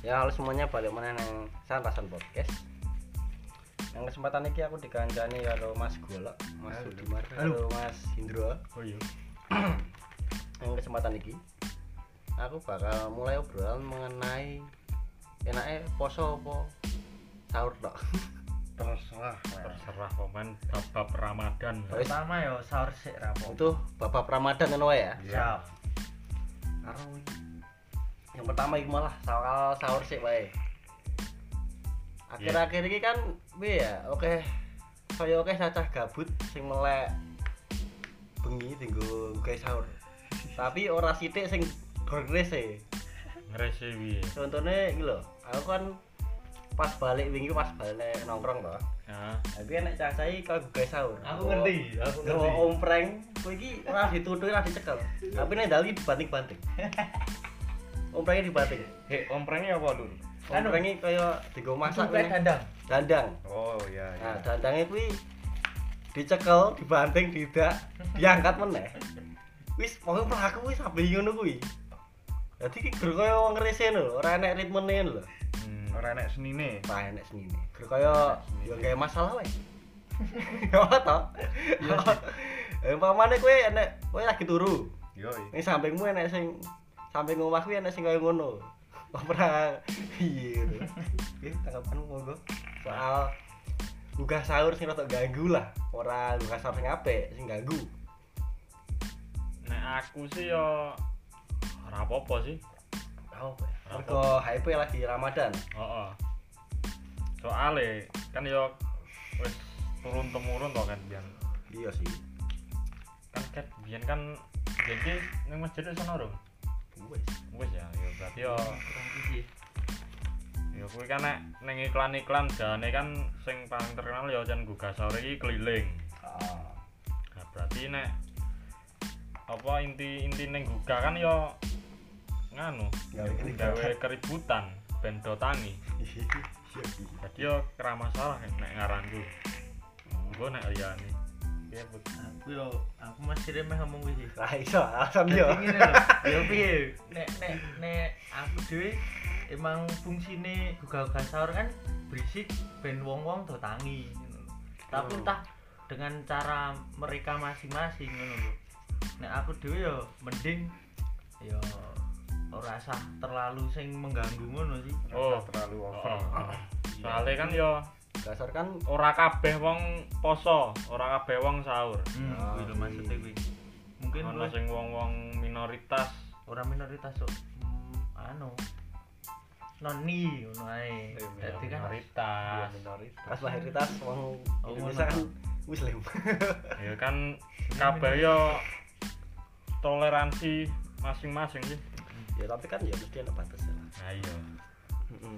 ya halo semuanya balik mana nang santasan podcast yang kesempatan ini aku dikancani karo Mas Golok, Mas Halo. Sudiman, Halo. karo Mas Hindro. Oh iya. Yang kesempatan ini aku bakal mulai obrolan mengenai enaknya poso apa sahur tok. Terserah, terserah komen bab-bab Ramadan. Wes. pertama yo sahur sik Iya. rapo Itu bapak Ramadan ngono wae ya. siap Karo yang pertama iku malah sahur sahur sik wae. Akhir-akhir ini kan piye ya, oke. Kaya oke cacah gabut sing melek bengi dienggo gawe sahur. Tapi ora sithik sing gor e. Ngrese piye? Contohnya iki lho, aku kan pas balik wingi pas balik nek nongkrong to. Ya. Tapi nek cacahe kalau gawe sahur. aku ngerti aku Dewa ngerti ompreng, kowe iki ora ditutuki ora dicekel. Tapi nek dal iki dibanting-banting. Omprengnya dibanting. Hei, omprengnya apa dulu? Anu. Omprengnya kaya digo masak Sumpah ngene. dandang dandang. Oh iya Nah, dandangnya kuwi dicekel, dibanting, tidak diangkat meneh. Wis pokoke pelaku wis sampe ngono kuwi. Dadi iki gur kaya wong ngresen lho, ora enek ritmene lho. Hmm. Orang enak senine. Wah enek senine. Gur kaya ya Senine. kayak masalah wae. Ya apa to? Iya Ya umpamane kowe enek kowe lagi turu. Yoi. Ning sampingmu enek sing samping omah kuwi enek sing kaya ngono. Ora piye lho. Piye tanggapanmu monggo soal gugah sahur sing rada ganggu lah. Ora gugah sahur sing apik, sing ganggu. Nek aku sih yo ora apa-apa sih. Apa? Mergo HP lagi Ramadan. Heeh. Soale kan yo wis turun temurun to kan biyen. Iya sih. Kan ket biyen kan jadi ning masjid wis ana rung. Wes. Wis ya, yo berarti yo Kurang siji. yo kuwi kan nek ning iklan-iklan jane kan sing paling terkenal yo jan gugah sore iki keliling. Ah. Nah, berarti nek apa inti inti neng gugah kan yo nganu Iya, Gawe keributan. gawe keributan ben dotani Iya sih. jadi yo kera masalah nek ngaranku gue nek liyane ya aku yo aku masih remeh ngomong wis Ra iso alasan Jadi yo. ngene lho, yo piye nek nek nek aku dhewe emang fungsine gugah-gugah sahur kan berisik ben wong-wong do tangi ngono lho. tapi Hmm. entah dengan cara mereka masing-masing ngono lho nek aku dhewe yo mending yo ora usah terlalu sing mengganggu ngono sih Oh. Ah. Nggak terlalu over. Iya, soalnya kan yo Gugah sahur kan ora kabeh wong poso ora kabeh wong sahur Hmm, Ah, kuwi lho iya. maksudnya kuwi. Mungkin ana luwih- sing wong wong minoritas orang minoritas kok hmm, anu noni ngono ae. Iya, Dadi Iya, kan minoritas minoritas. pas mayoritas wong Oh, Indonesia kan ngono. muslim. ya kan kabeh yo toleransi masing-masing sih Ya tapi kan ya mesti ana batasnya lah. nah iya Mm-mm.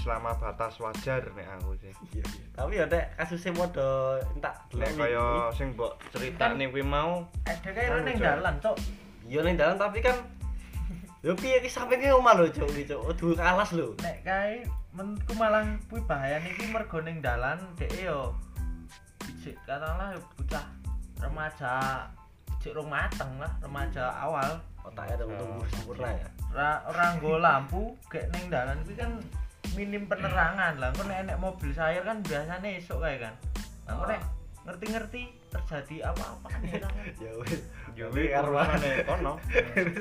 Selama batas wajar nek aku sih. Iya, iya. Tapi ya nek kasusnya podo entak Nek delok kaya iki. sing mbok cerita nih kuwi mau ada kayak Anu, ning Cok. dalan cok. Iya ning dalan tapi kan Yo piye iki sampe ki omah lho Cuk, iki Cuk. Aduh alas lho. Nek kae menurutku malah kuwi bahayane iki mergo ning dalan dhek e yo bijik katakanlah yo bocah remaja bijik rong mateng lah remaja awal Otaknya ada tumbuh sempurna ya. ra ora nggo lampu gek ning dalan kuwi kan minim penerangan lah kok nek enek mobil sayur kan biasanya esuk kae kan nah kok nek ngerti-ngerti terjadi apa-apa nih kan Ya wis. yo Tapi kuwi karo urusane kono.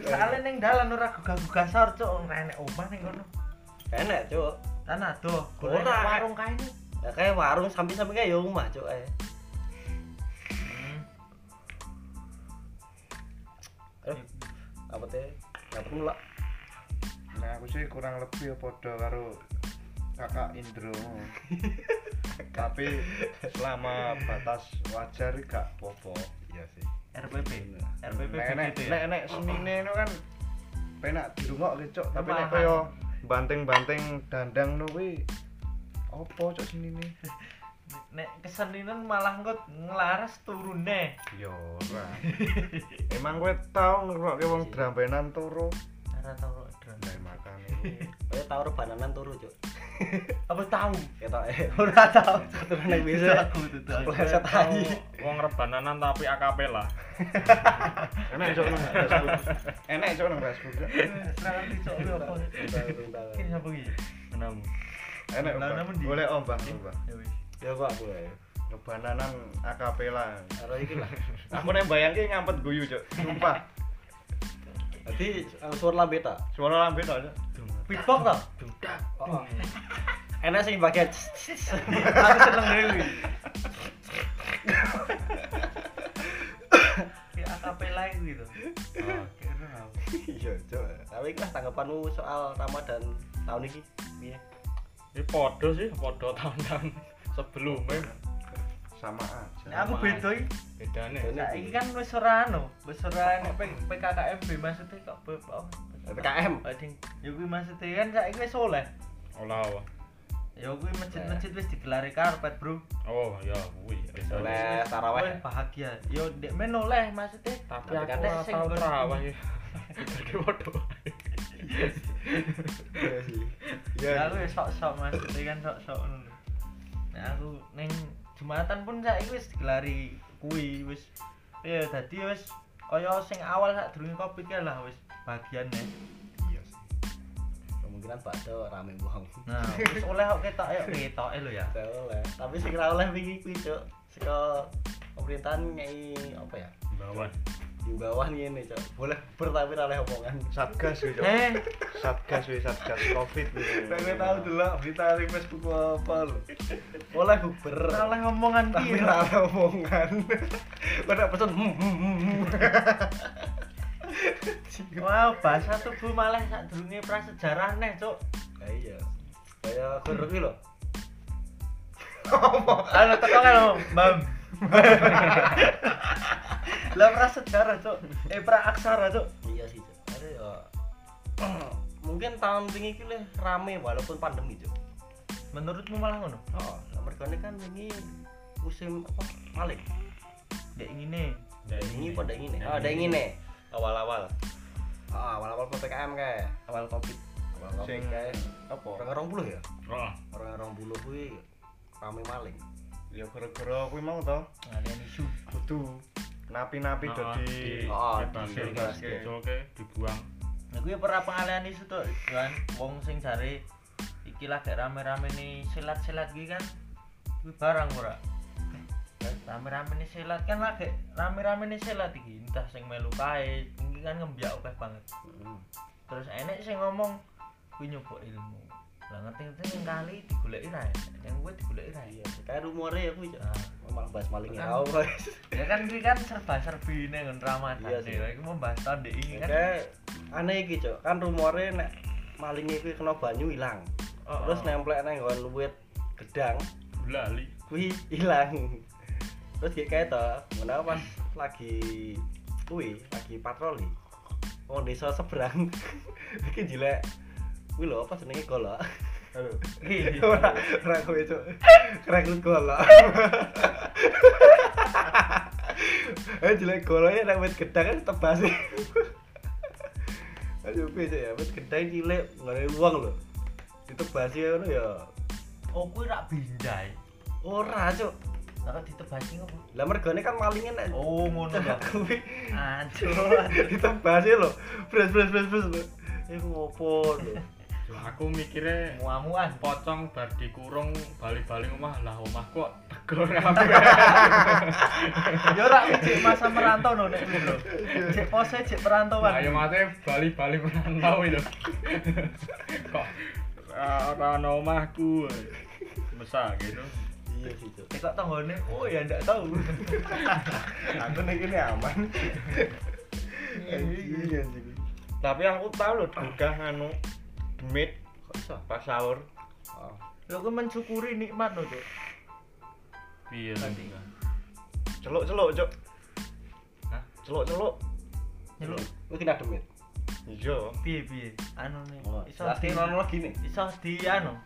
soalnya ning dalan ora gugah-gugah sor cuk ora enek omah ning kono Enak, Cuk. kan adoh Ora. golek warung kae nih Ya kayak warung samping-samping kayak ya omah, Cuk. eh. Hmm. Eh, apa teh? Dapat mulak. Nek aku sih kurang lebih ya padha karo kakak Indro. Tapi selama batas wajar gak popo. Iya sih. RPP RPP nek nek begitu nek ya nek senine itu kan penak dirungok cok tapi nek Paham. kaya banting-banting dandang no kuwi apa cok senine nek keseninan malah ngot ngelaras turune ya ora emang kowe tau ngrungokke wong drambenan turu Cara tau kok drone. Ndai makan iku. Kayak tau rebananan turu, Cuk. Apa tahu? Ketok eh. Ora tahu. Terus nang bisa Aku tuh tahu. pleset Tau aja. Wong rebananan tapi akapela. Enak cok nang Facebook. Enak cok nang Facebook. Eh, Serangan dicok lu apa? Ini Tahu. sapa iki? Kenapa? Enak Lah, ombak. namun di- Boleh ombak, ombak. Ya wis. Ya kok aku ya. Ngebananan akapela. Karo iki lah. Aku nek bayangke ngampet guyu cok. Sumpah. Dadi eh, suara lambe ta. Suara lambe tok cok. Beatbox toh? Oh, oh. Enak sing bagian Aku seneng dhewe iki. Kayak akapela iku gitu. Nah, Kayak ora tahu. Iya, Cuk. Tapi iki lah tanggapanmu soal Ramadan tahun iki piye? Ini podo sih, podo tahun-tahun sebelumnya Sama aja. Nek aku beda iki. bedane. Bedane. Saiki kan wis ora anu, wis ora nek P- PKKMB maksudnya kok be- apa? PKM. Oh, ding. Ya kuwi maksudnya kan saiki wis oleh. Olah apa? Ya kuwi masjid-masjid wis digelari karpet, Bro. Oh, ya kuwi. bisa. Oleh Wah, taraweh. bahagia. Yo ndek men oleh maksudnya. Tapi Tapi aku kan ora sing tau kon- terawih. Jadi podo. Iya sih. Iya. Ya aku ya sok-sok maksudnya kan sok-sok ngono. Nah, aku neng Jumatan pun saiki wis digelari kuwi wis ya dadi wis kaya sing awal sak durunge Covid kae lah wis bagian nih. Iya sih. Kemungkinan bakso rame wong. Nah, wis oleh kok ketok ya ketoke lho ya. Gak oleh. Tapi sing ra oleh wingi kuwi, Cuk. Saka pemerintahan nyai apa ya? Bawan. Himbauan ngene, Cuk. Boleh ber tapi ra oleh omongan. Satgas wis cok. Eh, Satgas wis satgas Covid. Pengen tahu dulu berita di Facebook apa lho. Oleh buber. ora oleh omongan ya. tapi piye. ra oleh omongan. Kok nek pesen hmm hmm hmm. Wah, bahasa tubuh malah sak durunge prasejarah neh, Cuk. Lah iya. Kayak guru kuwi lho. Halo, teko kae lho, Bam. Lah prasejarah, Cuk. Eh, praaksara, Cuk. Iya sih, Cuk. Ada ya mungkin tahun wingi iki leh rame walaupun pandemi, Cuk. Menurutmu malah ngono? Oh, mergane kan wingi musim apa? Maling. Dek ngene. Ada yang ini, ada yang ini. Oh, ada yang ini. Awal-awal Oh, awal-awal PPKM kayak. awal Covid. Awal awal Sing kayak. apa? Orang orang puluh ya? Oh, Orang orang puluh kuwi rame maling. Ya gara-gara kuwi mau to. Ada isu. Kudu napi-napi Ah, Nah, dadi di- Oh, dibasil, dibasil. diculke, dibuang. Nah, gue pernah pengalian isu tuh, kan. Wong sing jare ikilah gak rame-rame nih silat-silat gitu kan. Gue barang ora. Eh, Rame-rame nih silat kan lah gak rame-rame nih silat iki entah sing melu kae, iki kan ngembyak akeh banget. Hmm. Terus enek sing ngomong gue nyoba ilmu. Lah ngerti-ngerti sing kali digoleki ra enek, yang gue digoleki ra Iya, kayak rumore ya kuwi. Cok. Nah, Malah bahas maling ya. Kan- Oh, guys. ya kan ini kan serba serbi ini kan Ramadan Iya iya sih. sih ini membahas tahun di ini kan Kayak aneh iki, Cok. Kan rumore nek malingnya kuwi kena banyu ilang. Oh, Terus oh. nemplek nang nggon luwit gedang Lali. kuwi ilang. Terus kayak kayak to, ngono pas lagi kuwi, lagi patroli. Wong desa seberang. Iki jelek. Kuwi lho apa jenenge golok? Aduh. Iya. ora ora kowe cuk rekrut gola eh jelek gola ya nek wit gedang kan tebas aduh kowe Cuk, ya wit gedang cilik ngene uang lho ditebas ya ngono ya oh gue rak binjai ora cuk lalu ditebasi ngopo lah mergane kan malingnya nek oh ngono Cuk, lah kuwi ancur ditebas ya lho bres bres bres bres lho iku ngopo lho Lah, Aku mikirnya muamuan pocong bar dikurung balik-balik omah lah omah kok tegor apa ya rak kuwi cek masa merantau no nek kuwi, bro cek pose cek perantauan Nah, iya, ayo mate balik-balik merantau itu kok ra- ora ono omahku mesah gitu iya sih cuk cek kok tanggone oh ya ndak tahu Aku nek ini aman. iya sih Tapi aku tahu lho juga anu demit kok iso pas sahur. Oh. lho gue mensyukuri nikmat no cuk piye Nanti. lho. Celuk-celuk, Cuk. Hah? Celuk-celuk. nyeluk Kuwi kena demit Iya. piye piye anu nih Oh, iso lagi di ngono lagi nih. iso di anu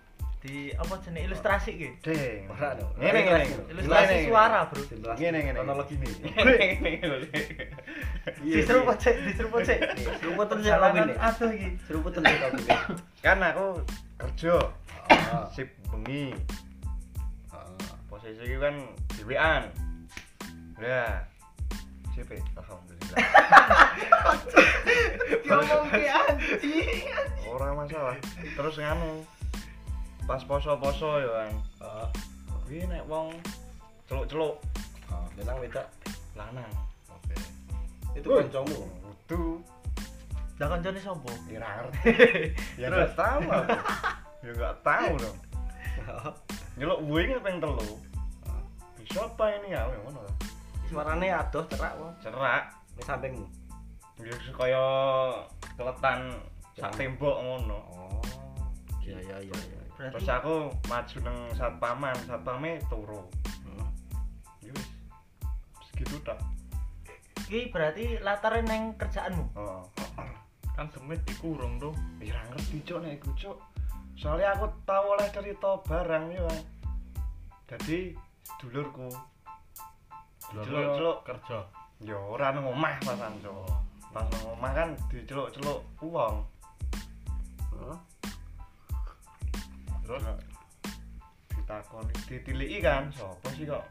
di apa jenis ilustrasi gitu Deng. Ora lho. Ngene ngene. Ilustrasi Ngene, ilustrasi Iya, ngene. suara bro Jelas. Ngene, ngene. Kronologi nih. Ngene ngene. Iya, Diseruput iya. cek, diseruput cek. seruputan sih kabeh nih. Aduh iki. Seruputan sih kabeh. kan aku kerja Ah. sip bengi Ah, posisi itu kan dewean ya sip eh, alhamdulillah Ngomong ki anjing. ora masalah terus nganu pas poso-poso ya kan Heeh. kuwi nek wong celuk-celuk Lanang ah. wedok. lanang Itu kancamu. tuh Lah kancane sapa? ya ora ngerti ya nggak tahu aku ya nggak tahu dong nyeluk gue ini pengen telu bisa apa ini ya ngono lah. Suarane adoh cerak wong. cerak Ning sampingmu. ya kaya keletan sak tembok ngono Oh. Iya iya iya iya. terus Berarti aku maju neng satpaman satpame turu Hmm. yus segitu tak iki berarti latar neng kerjaanmu. oh kan demit dikurung tuh ya ora ngerti cok nek iku cok soalnya aku tau oleh cerita barang ya kan jadi dulurku diceluk-celuk kerja ya ora nang omah pasan cok pas nang omah kan diceluk-celuk uang Heeh. terus ditakoni ditiliki kan sapa sih kok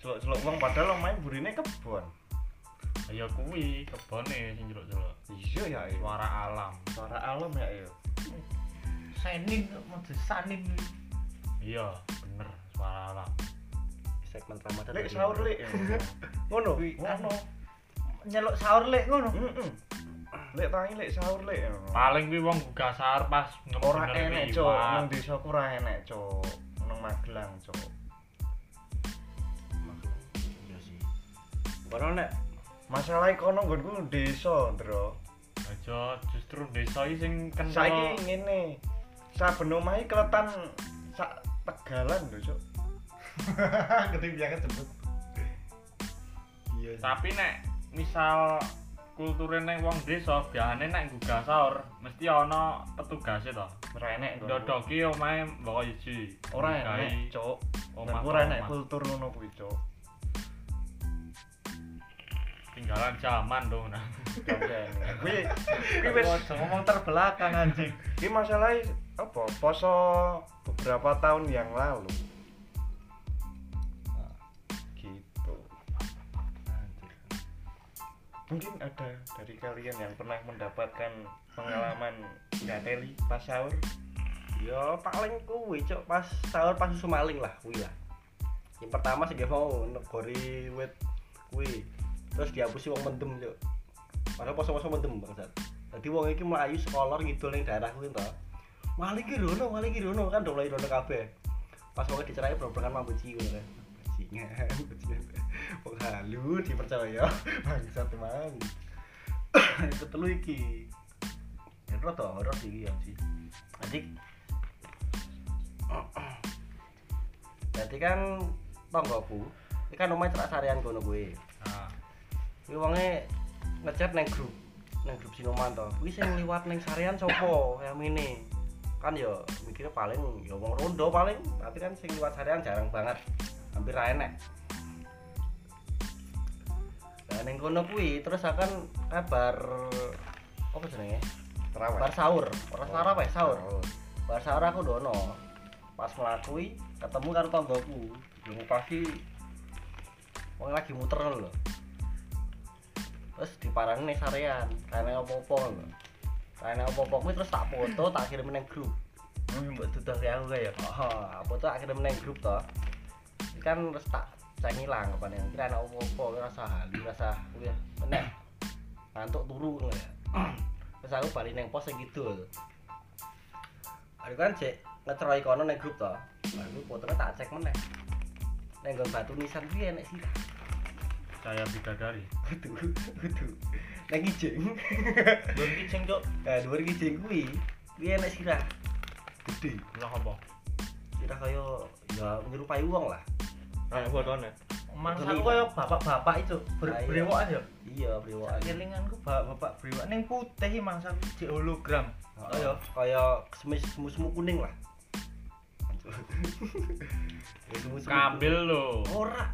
celuk-celuk uang padahal omahe burine kebon ya kuwi kebone sing celuk-celuk iya ya iya. suara alam suara alam ya iya Senin modus sanin. iya bener suara alam Segmen Ramadan. lek sahur lek Iya. ngono ngono Nyeluk sahur lek ngono. Mm-mm. lek tangi lek sahur lek paling kuwi wong buka sahur pas nemu ora bener enek liwat. cok nang desa ku ora enek cok nang Magelang cok iya sih Padahal nek masalah kono nggonku desa ndro aja justru desa iki sing kenal saiki ngene saben omahe keletan sak tegalan lho cok gede biasa cepet. Iya. tapi nek misal kulture nek wong desa biasane nek nggugah sahur mesti ana petugase to ora enek nggonku. ndodoki omahe mbok siji ora Nggahi enek cok omah Nggonku ora omah. enek kultur ngono kuwi cok tinggalan zaman dong nah Kagak. kuwi Kuwi kuwi wis ngomong terbelakang anjing. Ini masalahnya apa? Poso beberapa tahun yang lalu. Nah, gitu. Mungkin ada dari kalian yang pernah mendapatkan pengalaman gateli pas sahur. Yo paling kuwi cok pas sahur pas susu maling lah kuwi lah. Yang pertama sih dia mau negori wit kuwi. Terus dihapusi wong mendem cok. Padahal poso-poso mendem bangsat. Dadi wong iki mlayu sekolah ngidul ning daerah kuwi to. Maling ki rono, maling ki rono kan do mlayu rono kabeh. Pas wong dicerai berobrokan mampu ciu ngono kan. Bajingan, bajingan. Wong halu dipercaya bangsat emang. Ketelu iki. Erot to, erot iki ya sih. Adik Jadi kan tonggoku, iki kan omahe cerak sarean kono kuwi. Nah, Kuwi wonge ngechat nang grup, nang grup Sinoman to. Kuwi sing liwat nang sarean sapa Ya, mene Kan ya mikirnya paling ya wong rondo paling, tapi kan sing liwat sarean jarang banget. Hampir ra enek. Nah, ning kono kuwi terus akan kabar apa jenenge? Bar Terawat. sahur, ora sahur apa ya? Sahur. Bar sahur aku dono. Pas ngelakui, ketemu karo tanggoku. Yang pasti wong lagi muter ngono lho. Terus diparani nih sarean, rene opo-opo lho. Rene opo-opo kuwi terus tak foto, tak kirim nang grup. Mbok duduk ya aku kayak. Oh, foto tak kirim nang grup to. Ini kan terus tak saya ngilang kapan yang kira anak opo-opo kira rasa halu rasa kuwi ya. Enek. Ngantuk turu ngono ya. Terus aku balik nang pos sing kidul. Aku kan cek ngeceroi kono neng grup toh. Lalu fotonya tak cek meneh. Neng nggon batu nisan kuwi enek sih. saya bidadari Kudu, kudu. Neng kijing. Lur iki sing cuk. Nah, dhuwur kijing kuwi kuwi enek sirah. Gede. lho apa Sirah kaya ya menyerupai uang lah. Nah, fotone. Mangsa aku koyo bapak-bapak itu Nah, ber- iya. brewokan ya. Iya, priwokan. Kelinganku bapak-bapak brewokan ning putih mangsa aku di hologram. Oh ya, kaya semis semu-semu kuning lah. Ya, semu-semu kambil lho kuning. Ora.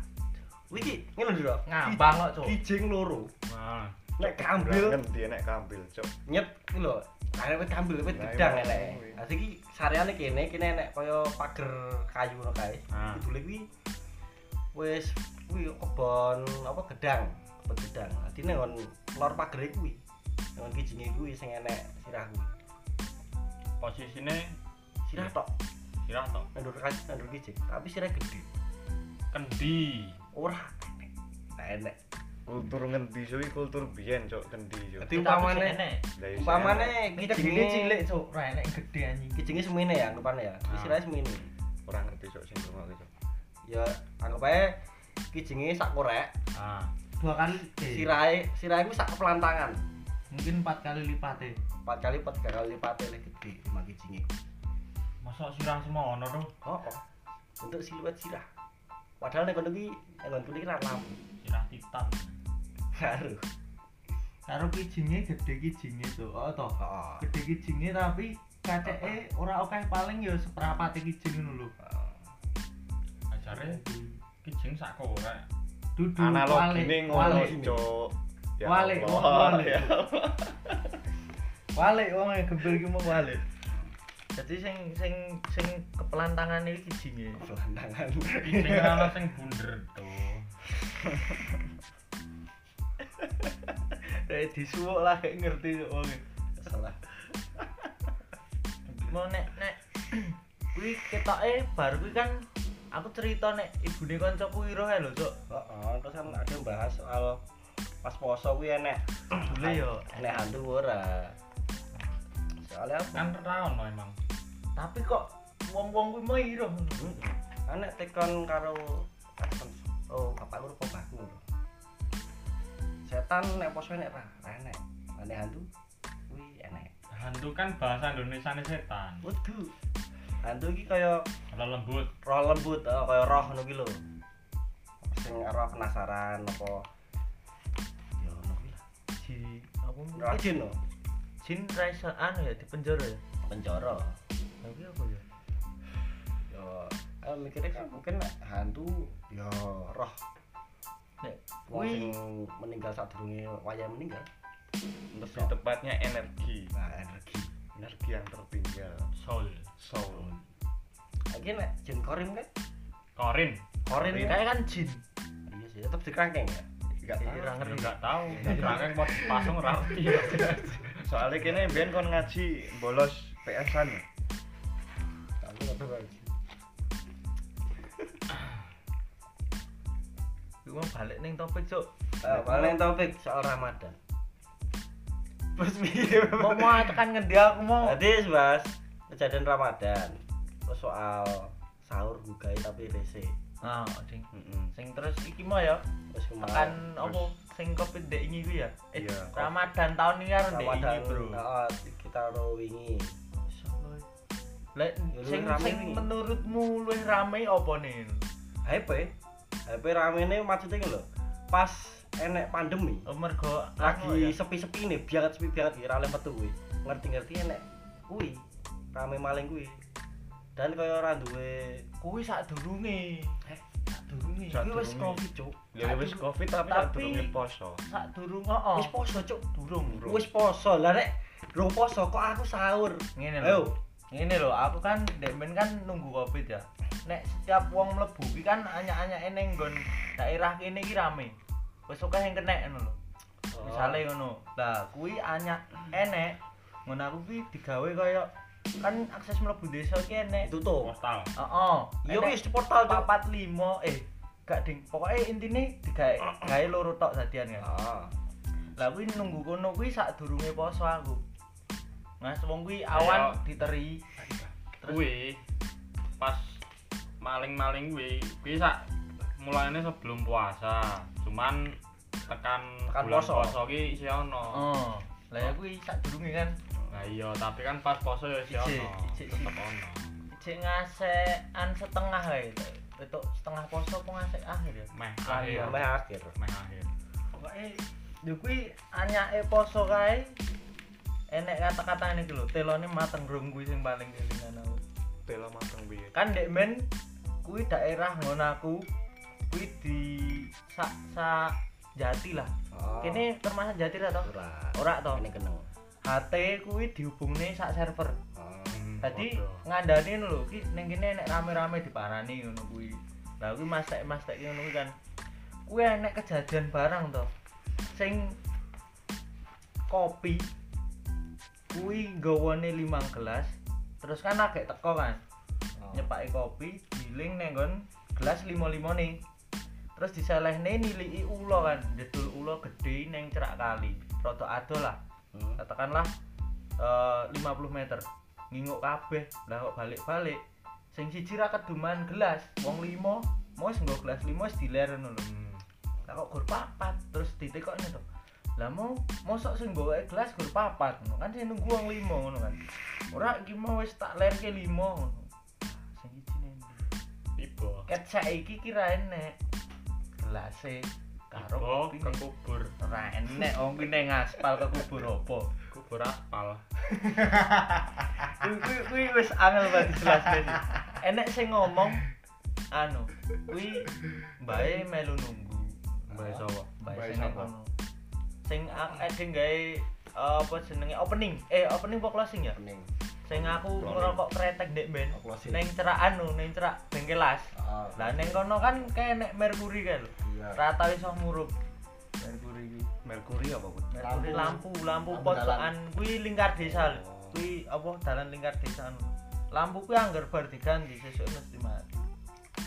Wiki, ngono lho. Ngambang kok cuk. Kijing loro. nah Nek kambil Ngendi nek kambil, Cuk. nyet ku lho. Arek wit kambil wit Nah, gedang iya, elek. iya. Asik iki sareane kene kene nek kaya pager kayu ngono kae. Ah. Kidule kuwi wis kuwi kebon apa gedang, kebon gedang. Dadi nek ngon lor pagere kuwi. Ngon kijinge kuwi sing enek sirah kuwi. Posisine Sirah tok, sirah to. nandur kayu, nandur kijing, tapi sirah gede. Kendi. Ora enek. Nah, enek. Kultur ngendi Cuk, iki kultur biyen, Cuk, ngendi, Cuk. Dadi umpamane Lah, iya, enak. umpamane kita gede cilik kijinge cuk ra enek gede anjing kijinge semene ya anggapane ya. Ah. Sirahnya semene. ora ngerti Cuk sing ngono Cuk. ya anggap aja kijinge sak korek Ah, dua kali gede. sirahe sirahe ku sak pelantangan mungkin empat kali lipatnya empat kali empat tiga kali lipat lebih gede lima kijinge mosok sirah semono to? oh, oh. untuk siluet sirah padahal nek kono ki nggon kuwi ra lampu Sirah titan. karo karo kijinge gede kijinge cuk oh toh heeh gede kijinge tapi kaceke ora akeh paling ya seperapate kijing ngono lho Ajare kijing sak korek. dudu Analogine ngono, walik Cuk. Ya Walik, Allah, walik. ya Allah. walik wong e gembel ki mau walik jadi sing sing sing kepelantangan ini kijinge pelantangan Kijing ana sing bunder to. kayak disuwuk lah Eh, kayak ngerti kok wong salah mau nek nek kuwi ketoke baru kuwi kan aku cerita nek ibune kancaku iro ae lho cuk heeh terus kan ada yang bahas soal pas poso kuwi enek boleh ya? yo enek hantu ora soalnya apa Kan ra ono emang. tapi kok wong-wong kuwi mau iro anak tekan karo tekan oh bapak guru bapakku lho. setan nek poso nek ra ra enek nek hantu kuwi enek Hantu kan bahasa Indonesia setan. waduh hantu iki kaya Kalau lembut roh lembut oh, kaya roh ngono ki lho sing roh penasaran apa ya ngono kuwi lah di aku roh jin lho jin ra iso anu ya di penjara ya penjara tapi apa ya ya eh, mikirnya kan mungkin nek hantu ya roh nek wong kuwi sing meninggal sadurunge wayah meninggal terus Lebih tepatnya energi, nah, energi energi yang tertinggal. soul. Soul. Lagi nek jin korim kan? Korin. Korim kan? kayak kan jin Iya sih, tetep dikerangkeng ya. Enggak Eh, ra ngerti Enggak tahu. Kerangkeng mau dipasung ra ngerti. Soalnya kene mbiyen kon ngaji bolos PS-an. ya? Kamu tetep lagi. kuwi mau balik ning topik cuk Ah, paling topik soal Ramadan. Terus piye? mau mau tekan ngendi aku mau Tadi bahas kejadian Ramadan. Terus soal sahur bukai tapi rese. ah jin Heeh. sing terus iki mau ya Terus tekan kemarin apa sing covid dek ini ku ya eh Iya. ramadan tahun ini kan dek ini Ramadan bro heeh, kita ro wingi. Lek Ya, sing luwih rame sing ini. menurutmu luwih rame apa nih HP. HP ramene maksudnya lho. Pas enek pandemi. mergo anu lagi ya, sepi-sepi nih biangat sepi biangat ya ralem metu kuwi ngerti-ngerti enek kuwi rame maling kuwi dan kaya ora duwe kuwi sak durunge Eh? sak durunge kuwi wis durunge. covid cuk Ya wis Covid tapi Tapi- tak durunge poso. sak durung oh wis poso cuk durung Durung. wis poso lah rek durung poso kok aku sahur ngene lho ayo ngene lho aku kan dek men kan nunggu covid ya nek setiap wong mlebu ki kan anyak-anyake ning nggon daerah kene ki rame wis akeh sing kena ngono lho Oh. misale ngono nah kuwi anyak enek ngono aku kuwi digawe kaya kan akses mlebu desa ki enek tutup Postal. heeh iya wis di portal cuk papat lima eh gak ding pokoknya intinya digawe gawe loro tok dadian kan ah lah kuwi nunggu kono kuwi sak durunge poso aku Mas wong kuwi awan Ayo. diteri kuwi pas maling-maling kuwi kuwi sak mulane sebelum puasa cuman tekan, Tekan bulan poso. poso, ki isih ono oh lah ya kuwi sak durunge kan nah iya tapi kan pas poso ya isih Ijik, ono ijik, ijik. tetep ono cek ngasekan setengah ae itu setengah poso apa ngasek akhir ya meh iya. akhir sampai akhir meh akhir pokoknya ya kuwi anyake poso kae enek kata-kata ini lho telone mateng rum kuwi sing paling kelingan aku Tela mateng piye. kan dek men kuwi daerah ngono aku kuwi di sak sak jati lah Oh. kene termasuk jati lah toh ora. ora toh Kene keneng. HT kuwi dihubungne sak server Oh. Hmm. Hmm, Dadi Waduh. ngandani lho, ki ning kene nek rame-rame diparani ngono kuwi. Lah kuwi mastek-mastek ki ngono kuwi kan. Kuwi enek kejadian barang to. Sing kopi kuwi nggawane 5 gelas, terus kan agek teko kan. Nyepaki kopi, giling neng nggon gelas 5-5 Terus diselehne niliki ula kan, jedul ula gede neng cerak kali. Rada adoh lah. Hmm. katakanlah eh, 50 meter nginguk kabeh lah kok balik-balik sing siji ra keduman gelas wong limo mau sing nggo gelas limo wis diler ngono lho Hmm, lah kok gur papat terus ditekokne to lah mau mosok sing bawa gelas gur papat ngono kan sing nunggu wong limo ngono kan ora iki mau wis tak lerke limo ngono sing siji nendi tiba ket saiki kira enek gelase karo oh kopi kekubur ora enek wong kuwi ning aspal kekubur apa kubur apal Kuwi- kuwi kuwi wis angel banget jelasne. sih. Enek sing ngomong anu, kuwi mbae melu nunggu. mbak Ah. sapa Mbae Mbae sing sapa? ngono. Sing ade gawe eh, apa jenenge opening. Eh opening apa closing ya? Kening. Sing aku ngerokok kretek ndek ben. Oh, closing. Ning cerak anu, ning cerak bengkel las. Oh. Lah ning kono kan kenek merkuri kan. Iya. Rata iso murup. Merkuri iki. Merkuri apa pun? Merkuri lampu, Lampu. Lampu lampu pojokan kuwi lingkar desa. lho. Oh. Kuwi apa dalan lingkar desa anu. Lampu kuwi anggar bar diganti sesuk mesti mati.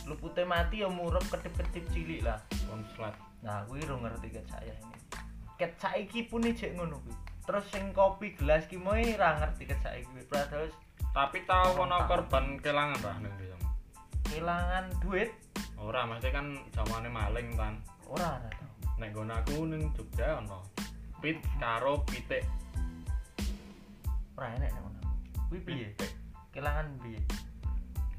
Lupute mati ya murep kedip-kedip cilik lah. konslet Nah, kuwi ro ngerti ket saya ini. Ket saiki pun ijek ngono kuwi. Terus sing kopi gelas ki moe ra ngerti ket saiki kuwi. Padahal wis tapi tahu ono korban kelangan lah nang desa kelangan duit ora mesti kan zamane maling kan ora ora tau. nek nggon aku ning Jogja ono pit karo pitik Ora enek nek ngono. Kuwi piye? pitik Kelangan piye?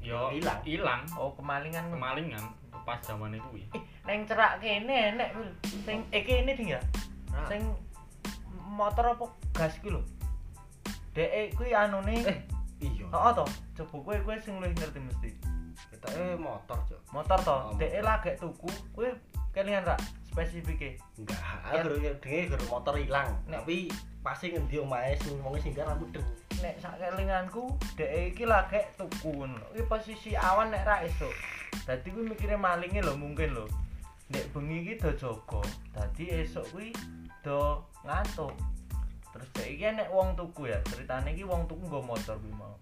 yo Ilang. ilang Oh, kemalingan ngono. kemalingan pas zamane kuwi Ih, neng cerak kene enek wil. Sing iki ini ding ya. Nah. Sing motor apa gas kuwi lho. Dek kuwi anune eh Iya. heeh to. Coba kowe kowe sing luwih ngerti mesti. Ketoke eh, motor, Cuk. Motor to, Oh, dek motor. lagi tuku, kowe kelingan ra spesifike. Enggak, aku dengar dengar motor hilang. Iya. Nek. Tapi pasti ngendi omae sing wong singgah aku deng. Nek sak kelinganku dek iki lagi tuku ngono. lho. Kuwi posisi awan nek ra esuk. Dadi kuwi mikire malinge lho mungkin lho. Nek bengi iki do jaga. Dadi esuk kuwi do ngantuk. Terus dek iki nek wong tuku ya, ceritane iki wong tuku nggo motor kuwi mau.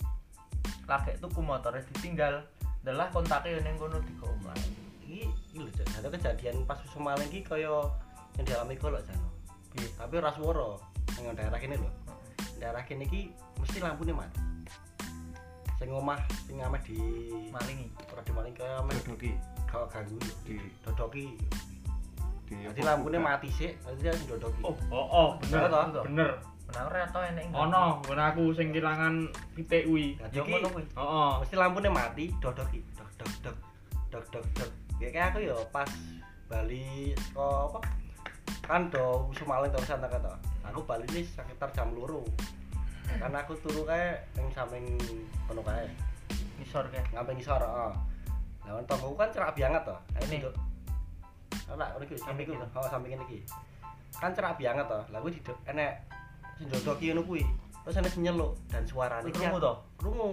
Lagi tuku motore ditinggal. Delah kontake yo ning kono dikomlak. Iki iki lho, Cuk. Ada kejadian pas wis maling iki kaya yang dialami kok lho, Jan. Piye? Tapi ora swara. Nang daerah kene lho. Daerah kene iki mesti lampune mati. Sing omah sing ameh di Malingi. ora dimaling kaya ameh Dodoki gak ganggu lho. di dodoki. di Iya, Jadi lampune mati sik, nanti dia dodoki. oh oh, oh bener Bener to? bener Benar ora tau enek nggak? ono nggon aku sing kelangan pitik kuwi Dadi Nah, Ya iki- ngono kuwi. heeh mesti lampunya mati dodoki dok dok dok dok dok dok ya kayak aku ya pas Bali ke apa kan do musuh maling terus tak kata aku Bali ini sekitar jam loro karena aku turu kayak yang samping penuh kayak Ngisor kae. ngapain ngisor oh nah orang tonggoku kan cerak banget toh Ini? ini apa ini gue samping Ini gue oh samping ini iki. kan cerak banget toh lalu di enek sing dodoki ngono kuwi terus enek sing nyeluk dan suarane Kuwi iki krungu to? krungu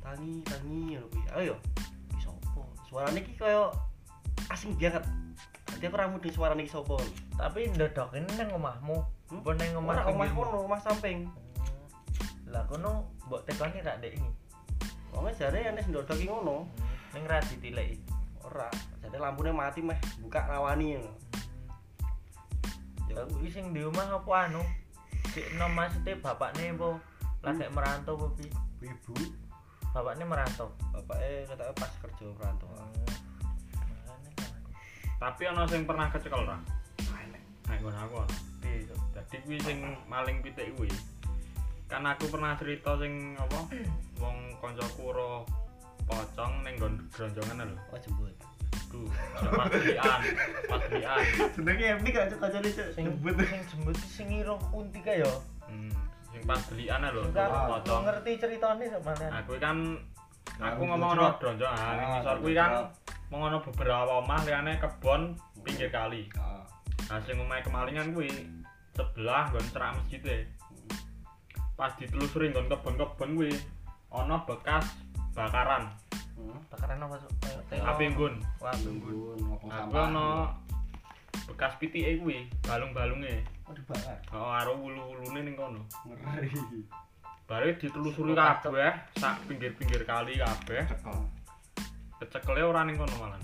tangi tangi ngono kuwi ayo yo iki sapa suarane iki kaya asing banget nanti aku ora mudeng suarane iki sapa Tapi ndodok ini nang omahmu. Hmm? Apa nang omah omah omah bengimu? kono omah samping Lah kono mbok tekoni rak ndek iki. wonge jare enek sing dodoki ngono Ning ra ditileki. ora jadi lampune mati meh buka rawani ngono Ya kuwi sing di omah apa anu? Sik nom maksude bapakne apa? Lagi merantau apa piye? ibu Bapakne merantau. bapaknya katanya pas kerja perantau Makane kan. tapi ono sing pernah kecekel ora enek. nek nggon aku ono Piye to? Dadi kuwi sing maling pitik kuwi. Kan aku pernah cerita sing apa? Hmm. Wong kancaku ora pocong ning nggon gronjongan lho. oh jemput Ku, pas belian, pas belian. senengnya ini gak cocok jadi cok Sing sing jembut ki sing iro unti kae ya. Hmm, sing pas belian lho, Enggak ora aku pocong. ngerti ceritane sok Nah, malah. kuwi kan aku Nah, ngomong ono gronjongan ning Ah, ngisor kuwi kan gronjongan. mengono beberapa omah liyane kebon pinggir kali. Ah, Nah, sing omahe kemalingan kuwi sebelah nggon cerak masjid e. Pas ditelusuri nggon kebon-kebon kuwi ana bekas bakaran Takaran apa Cuk? Kayak teo. api nggon. Wah, tunggu. Tunggu ngopong Hmm. Nah, sampah. kuwi ana bekas pitike kuwi, balung-balunge. Oh, dibakar. Heeh, karo wulu-wulune ning kono. Ngeri. Baru ditelusuri kabeh, sak pinggir-pinggir kali kabeh. cekel Kecekele ora ning kono malan.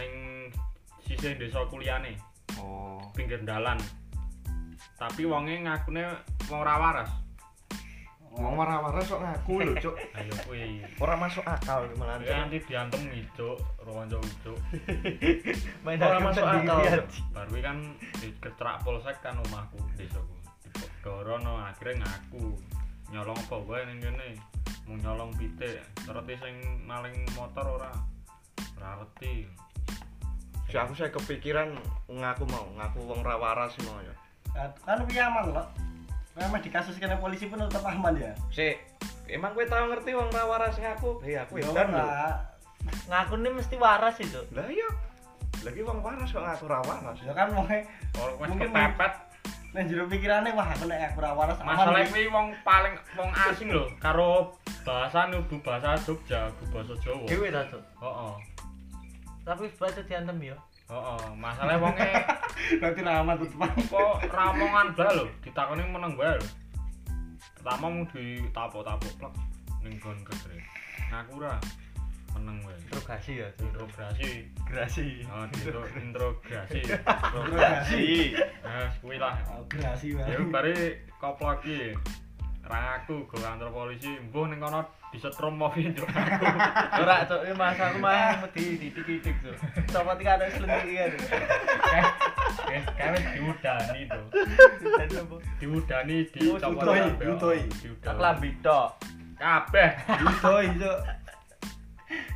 Ning sisih desa kuliane, oh pinggir dalan. Tapi wonge ngakune wong ora waras. ngomong marah-marah sok ngaku lho cuk Ayo kuwi. ora masuk akal malah Nanti nanti Kan diantem ijo, ronco ijo. Main Orang hakim masuk sendiri, akal. anjing. Baru kuwi kan diketrak polsek kan omahku desaku. Dorono akhirnya ngaku. Nyolong apa wae ning kene. Mau nyolong pitik, ngerti sing maling motor ora. Ora ngerti. Si Ya, aku saya kepikiran ngaku mau ngaku wong ra waras mau ya Nah, kan lebih aman loh. Memang di kasus kena polisi pun tetap aman ya. si emang kowe tau ngerti wong ra waras ngaku hei ya aku kan edan lho lah. Ngaku ini mesti waras itu. lah iya lagi wong waras kok ngaku ra waras Ya kan mau Ora wis Mungkin- kepepet. nek jero pikirannya wah aku nek aku ra waras aman. Masalah nih. kuwi wong paling wong asing lho karo bahasa nubu bahasa Jogja, bu bahasa Jawa. Heeh. Dewe ta, Cuk. Tapi sebab itu diantem ya. Heeh, masalah wonge Berarti ra aman tetep. apa ramongan bla lho, ditakoni meneng bae lho. Pertama mung ditapok-tapok plek ning gon kedre. Ngaku ra meneng wae. Interogasi ya, Cuk. Interogasi. Interogasi. Oh, diintro- interogasi. Iya, Gerasi. Nah, kuwi lah. Gerasi Ya banget. bari koplo iki. Ra aku go kantor polisi, mbuh ning kono disetrum mobil njuk aku. Ora, Cuk, ini masa aku mah mesti didik-didik, Cuk. Sopo iki ada slendiki ya. Cuk. Guys, kami diudani to. Dan apa? Diudani Diutoi, dicopot kabeh. diutoi. Tak Diudani. lambi tok. Kabeh. Doi, Cuk.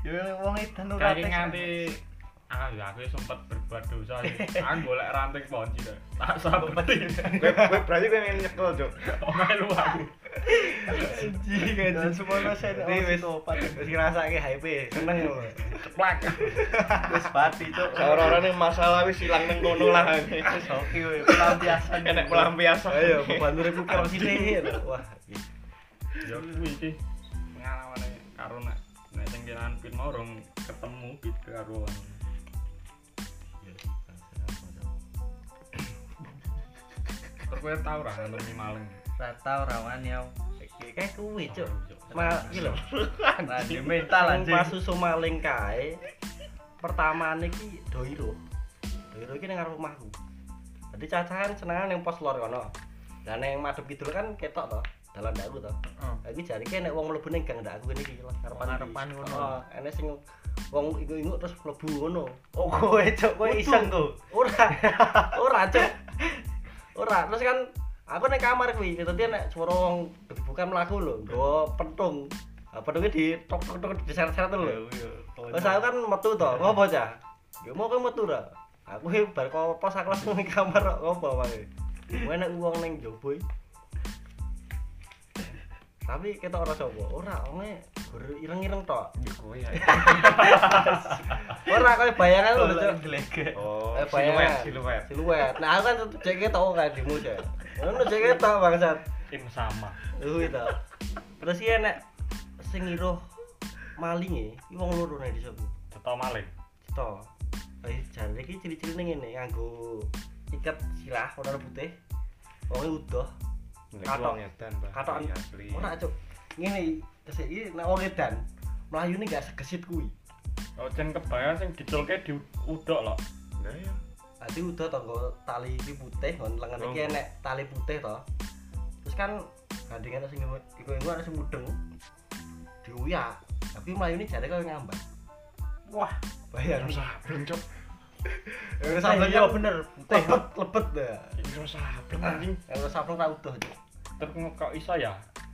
Ya wong edan ora Kayak nganti Ah, ya, aku sempat berbuat dosa sih. Aku golek ranting ponci deh. Tak sabeti. kowe kowe berarti kowe pengen nyekel cuk Omae lu aku. Anjing, anjing. Semua rasa ada Ini wis opat. wis ngrasake hype seneng ya, lho. Ceplak. Wis pati, Cuk. ora ning masalah wis ilang ning kono lah Oke, weh, pelampiasan. enek pelampiasan Ayo beban uripku karo sithik. Wah, Ya kuwi sih pengalamane karo nek nek sing kiran pit mau rong ketemu pit karo wong. Terus kowe tau ra ngelemi maling? Ratau rawan ya. kayak kuwi, Cuk. Maling. Mal iki lho. Radi mental anjing. Pas susu maling kae pertamane iki doiro. Doiro iki nang ngarep omahku. Dadi cacahan senengan yang pos lor kono. Lah nang madhep kidul kan ketok to, dalan daku to. Oh. Lah iki jarine ki nek wong mlebu ning gang ndakku ngene iki lho, ngarepan Ngarepan ngono. Heeh, enek sing wong ingu-ingu terus mlebu ngono. Oh, kowe cok, kowe Utuh. iseng tuh. Ora. Ora, Cuk. Ora, terus kan aku ning kamar kuwi, dadi nek swara wong bukan mlaku lho, nggawa pentung. Nah, pentungnya di tok tok tok di seret-seret tuh lho. Terus aku kan metu to, ngopo cah? Ya mau kowe metu ra? Aku iki bar kok pos aku langsung ning kamar kok ngopo wae. Kowe nek wong ning jowo iki. Tapi kita ora sapa, ora onge gur ireng-ireng tok. kowe Ora kaya bayangan lho, Cuk. Gelege. oh Eh, siluet bayangan. siluet Siluet. Nah, aku kan tetep cek ketok kae dimu cah. Ngono cek ketok bangsat. Tim sama. Lho itu. Terus iki enek sing ngiruh malinge, iki wong loro nek disopo. Cetok maling. Cito. Eh jare iki ciri-cirine ngene, nganggo iket sirah warna putih. Wonge udah. Katok. katok edan Pak. Katokan. Iya, asli Ora, Cuk. Ngene terus iki nek wong edan, mlayune gak segesit kuwi. Oh, jen kebayang sing diculke diudok lho. Lah iya. Dadi udah to nggo tali iki putih, nggon lengan iki Longgo. enek tali putih to. Terus kan gandengan sing iku-iku ana sing mudeng. Diuyak. Tapi mlayune jare kaya ngambang. Wah, Iya, Bayang. sableng cuk Terus sableng iya kan bener, putih lebet, lebet dah. Iya, Ora sableng Anjing, kalau sableng ra utuh. Cuk. Terus nge- kok iso ya?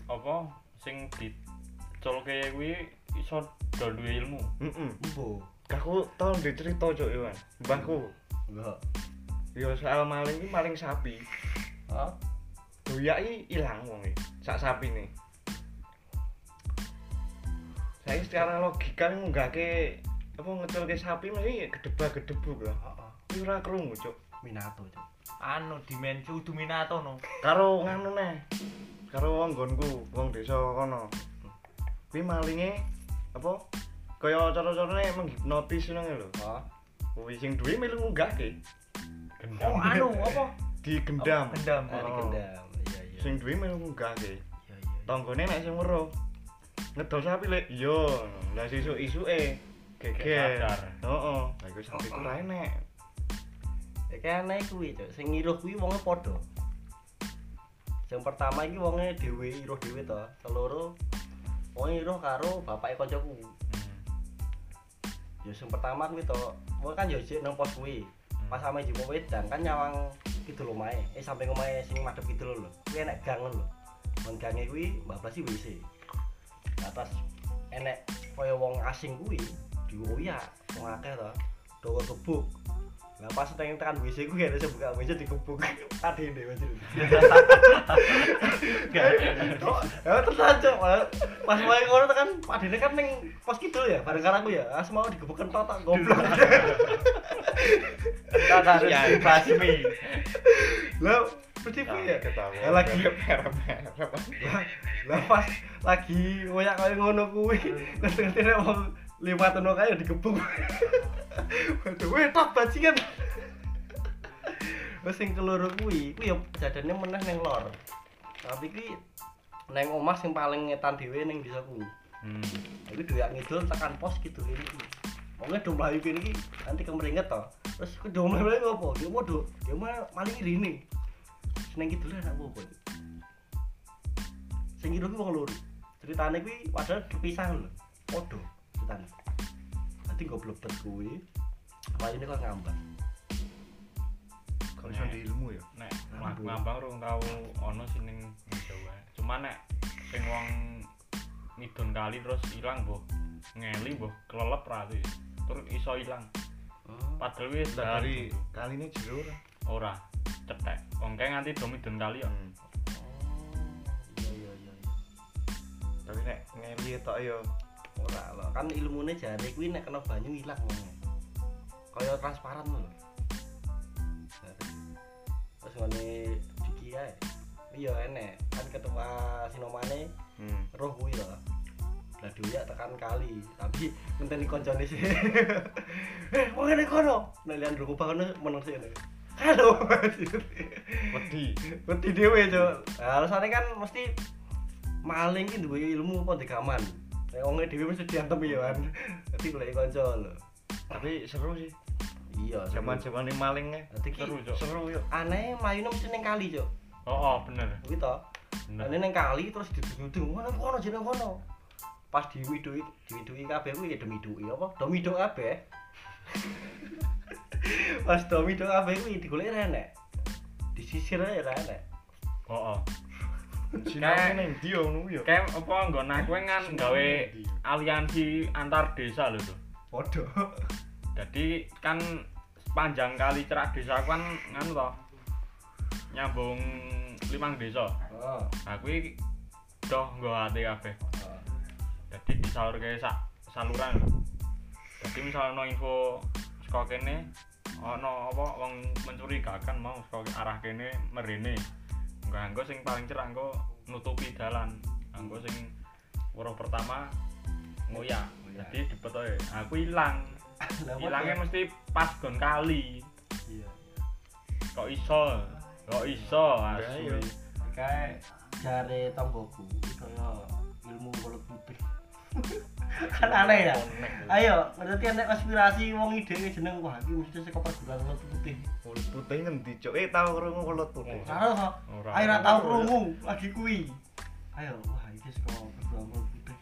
Apa sing diculke kuwi iso do duwe ilmu. heeh Embo. aku tau dicerita cuk Iwan mbahku Enggak. Ya soal maling iki maling sapi. Hah? Doyak iki ilang wong iki. Sak sapine. Saya secara logika ini ngunggahke apa ngeculke sapi mesti gedebak gedebuk lah. Iki ora krungu, Cuk. Minato cuk. anu dimensi Uduminato no karo ngono neh karo wong nggonku wong desa kono kuwi malinge apa kaya cara-carane menghipnotis ngono lho Oh, kuwi sing duwe melu ngunggahke oh anu apa digendam gendam dari Oh. gendam. Iya iya. sing duwe melu ngunggahke Iya iya. tanggone nek sing weruh ngedol sapi lek iya lah sesuk isuke geger Geger. heeh lah iku sapi ku ra enek Ya kayak aneh kuwi cuk. Sing ngiruh kuwi wonge padha. Sing pertama iki wonge dhewe iruh dhewe to. Keloro wonge iruh karo bapake kancaku. Ya sing pertama kuwi to. Wong kan yo jek nang pos kuwi. Pas sampe jumpa wedang kan nyawang kidul omahe. Eh sampe omahe sing madhep kidul lho. Kuwi enek gang lho. Wong gange kuwi Mbak Blas iki WC. Nah, pas enek kaya wong asing kuwi dioyak wong akeh to. Dowo gebuk. Lah pas pengen tekan WC ku gak ada buka WC dikebuk adine wajib. Kok ya terus aja malah pas mau ngono tekan adine kan ning pos kidul ya bareng karo aku ya. As mau digebuk kentot tak goblok. Kita harus dibasmi. Iya, Lah Nah, Percipu ya, ya lagi merah-merah lah- lah pas lagi ngoyak kaya ngono kuwi ngerti-ngerti nek wong liwat ono kae ya dikebuk waduh weh tak bajingan wis sing keloro kuwi kuwi ya jadane meneh ning lor tapi kuwi neng omah sing paling ngetan dhewe ning desa kuwi Hmm. Iku duwe ngidul tekan pos gitu ini. Wonge do mlayu kene iki nanti kemringet to. Terus ku do mlayu ngopo? Ki mau do, ya mah maling rene. Seneng kidul anak apa iki? Sing kidul ki wong loro. Ceritane kuwi padahal dipisah lho. Padha ceritane. Nanti goblebet kuwi. Apa ini kok ngambang? kalau iso ilmu ya nek mak ngambang rung tau ono sing ning Jawa. Cuma nek sing wong midun kali terus ilang mbuh ngeli mbuh kelelep ra tuh. Terus iso ilang. Padahal wis dari kali ini jero ora ora cetek. Wong kae nganti do midun kali Hmm. ya. Iya iya iya. iya. tapi nek ngeli tok ya Ora lho, kan ilmune jare kuwi nek kena banyu ilang wonge. Kaya transparan lho. Jare. Terus ngene iki ae. Iya enek, kan ketua sinomane hmm. roh kuwi lho. Lah doyak tekan kali, tapi ngenteni koncone sih. Eh, wong ngene kono. Nek lian ruku kono meneng sih. Halo. wedi Wedi dhewe, Cuk. Nah, Alasane kan mesti maling ki duwe ilmu apa degaman. Nek wonge dhewe mesti diantem ya kan. Dadi golek kanca lho. tapi seru sih Iya, zaman-zaman ini malingnya dadi ki Seru, Cuk. e. seru yuk aneh mlayune mesti ning kali, Cuk. Oh, oh bener. Kuwi to. Bener. Ane ning Gitu. kali terus didudung, ngono kono jeneng kono. Pas diwidui, diwidui kabeh kuwi ya demidui apa? Domiduk kabeh. Pas domiduk kabeh kuwi digolek ra enek. Disisir ae ra enek. Oh, oh. sinau ning ndi ngono ya Kayak apa nggon aku ngan gawe aliansi antar desa lho tuh. Waduh. jadi kan sepanjang kali cerak desa aku kan nganu toh nyambung limang desa Oh. aku iki doh nggo ati kabeh oh. jadi disalurke sak saluran lho jadi misalnya info saka kene ono apa wong mencurigakan mau saka arah kene merene engko anggo sing paling cerak engko nutupi dalan anggo sing weruh pertama ngoyak jadi dipetoke aku ilang Lah, apa hilangnya tuh? mesti pas gon kali Iya. kok iso kok iso Ya, asli iya. ayo. kayak jare tanggoku Iya. kaya ilmu kulit putih kan aneh ya ayo ngerti nek konspirasi wong ide jeneng wah iki mesti saka perguruan kulit putih kulit putih ngendi cuk eh tau krungu kulit putih Oh. karo kok Ora. ayo ra tau krungu lagi kuwi ayo wah iki saka perguruan kulit putih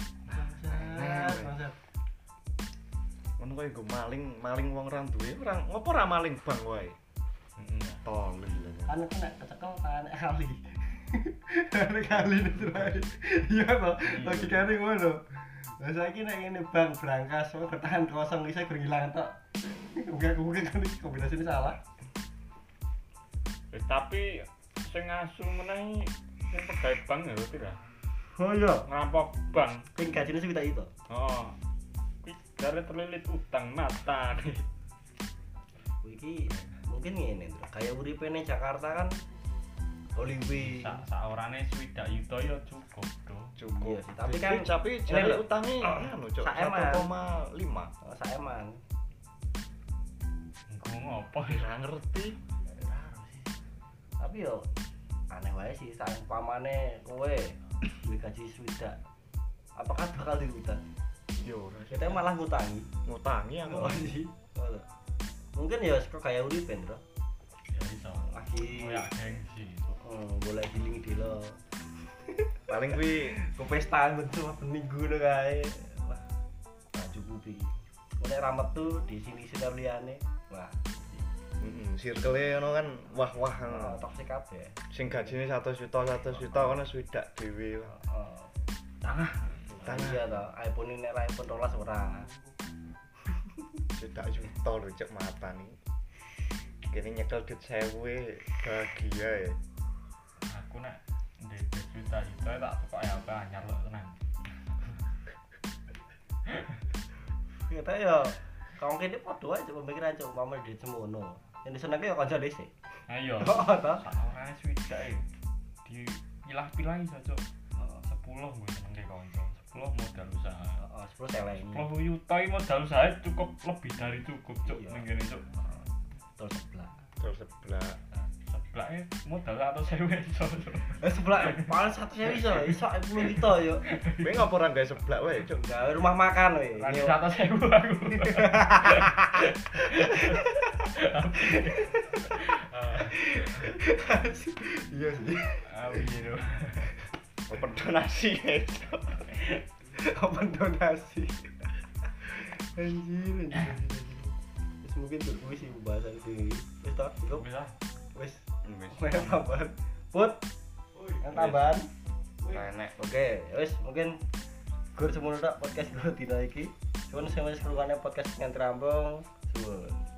Bangsat, bangsat. ngono kaya go maling maling wong ra duwe ora ngopo ra maling bang wae Mm-mm. tolol kan aku nek kecekel kan kali Nek kali ini terakhir iya toh logikanya ngono Lah saiki nek ngene bang brankas kok ketahan kosong iso gur ilang tok. Enggak mungkin kan ini kombinasinya salah. Eh, tapi sing asu menahi sing pegawai bank ya berarti lah Oh iya, ngerampok bank ping gajine sing kita itu. oh Kuwi Jare terlilit utang mata. Iki mungkin ngene, Ndro. Kayak uripe ning Jakarta kan Hollywood. Sak saorane swidak yuta ya cukup do. cukup Iya sih, tapi kan- tapi ini jari loh. utangnya Ah, anu cok sak eman. 1,5 Oh, saya emang. Engko ngopo ya? Ya, nggak ngerti Tapi yo aneh wae sih sak pamane kowe duwe gaji swidak. Apakah bakal diutang? yo Kita malah ngutangi. ngutangi Iya, aku Oh, iya. Oh, iya. Mungkin ya kok kayak uripe, Ndro. ya iso. Lagi Koyak gengsi. oh, boleh giling dilo. paling kuwi Ke pesta bentuk minggu ngono kae. Wah, gak cukup iki. Oleh ramet tuh di sini sudah liane. Wah, heeh circle-e ono kan wah wah oh, ngono. toksik kabeh. sing gajine 100 juta 100 juta ono swidak dhewe Oh, Tanah. Nah, Tanah. iya toh, iPhone ini nek iPhone 12 ora. swidak juta lho cek mata nih kene nyekel duit sewe bahagia ya Aku nek ndek juta yuta tak tukok ya apa anyar lho tenan. Kita ya kawan kene padha wae cuma pemikiran cuma mama di semono. Yang disenengke ya kanca dhisik. Ayo. Oh, toh. Saorane swidak e di pilah-pilahi saja. 10 gue seneng ke kanca. 10 modal usaha. Heeh, 10 teleng. Sepuluh yuta ini modal saya cukup lebih dari cukup cuk Iya. ning kene cuk. Terus sebelah. terus sebelah Sebelaknya e, modal atau sewe iso, Cuk. Eh Iya. sebelah paling satu sewi iso, iso iPhone kita yo. Kowe ngapa ora gawe seblak wae, Cuk? Gawe rumah makan we. Yo. Rani satu sewu aku. Iya sih. Ah iya lho. Open donasi ya, Cuk. Open donasi. Anjir, anjir. Wis mungkin tur kuwi sih pembahasan iki. Wis toh, cukup. Bisa. Wis. Wis. Wis tambahan. Put, yang tambahan. Nenek. Oke, ya wis mungkin gur semono tok podcast gur dina iki. Suwun sing wis krungane podcast nganti rampung. Suwun.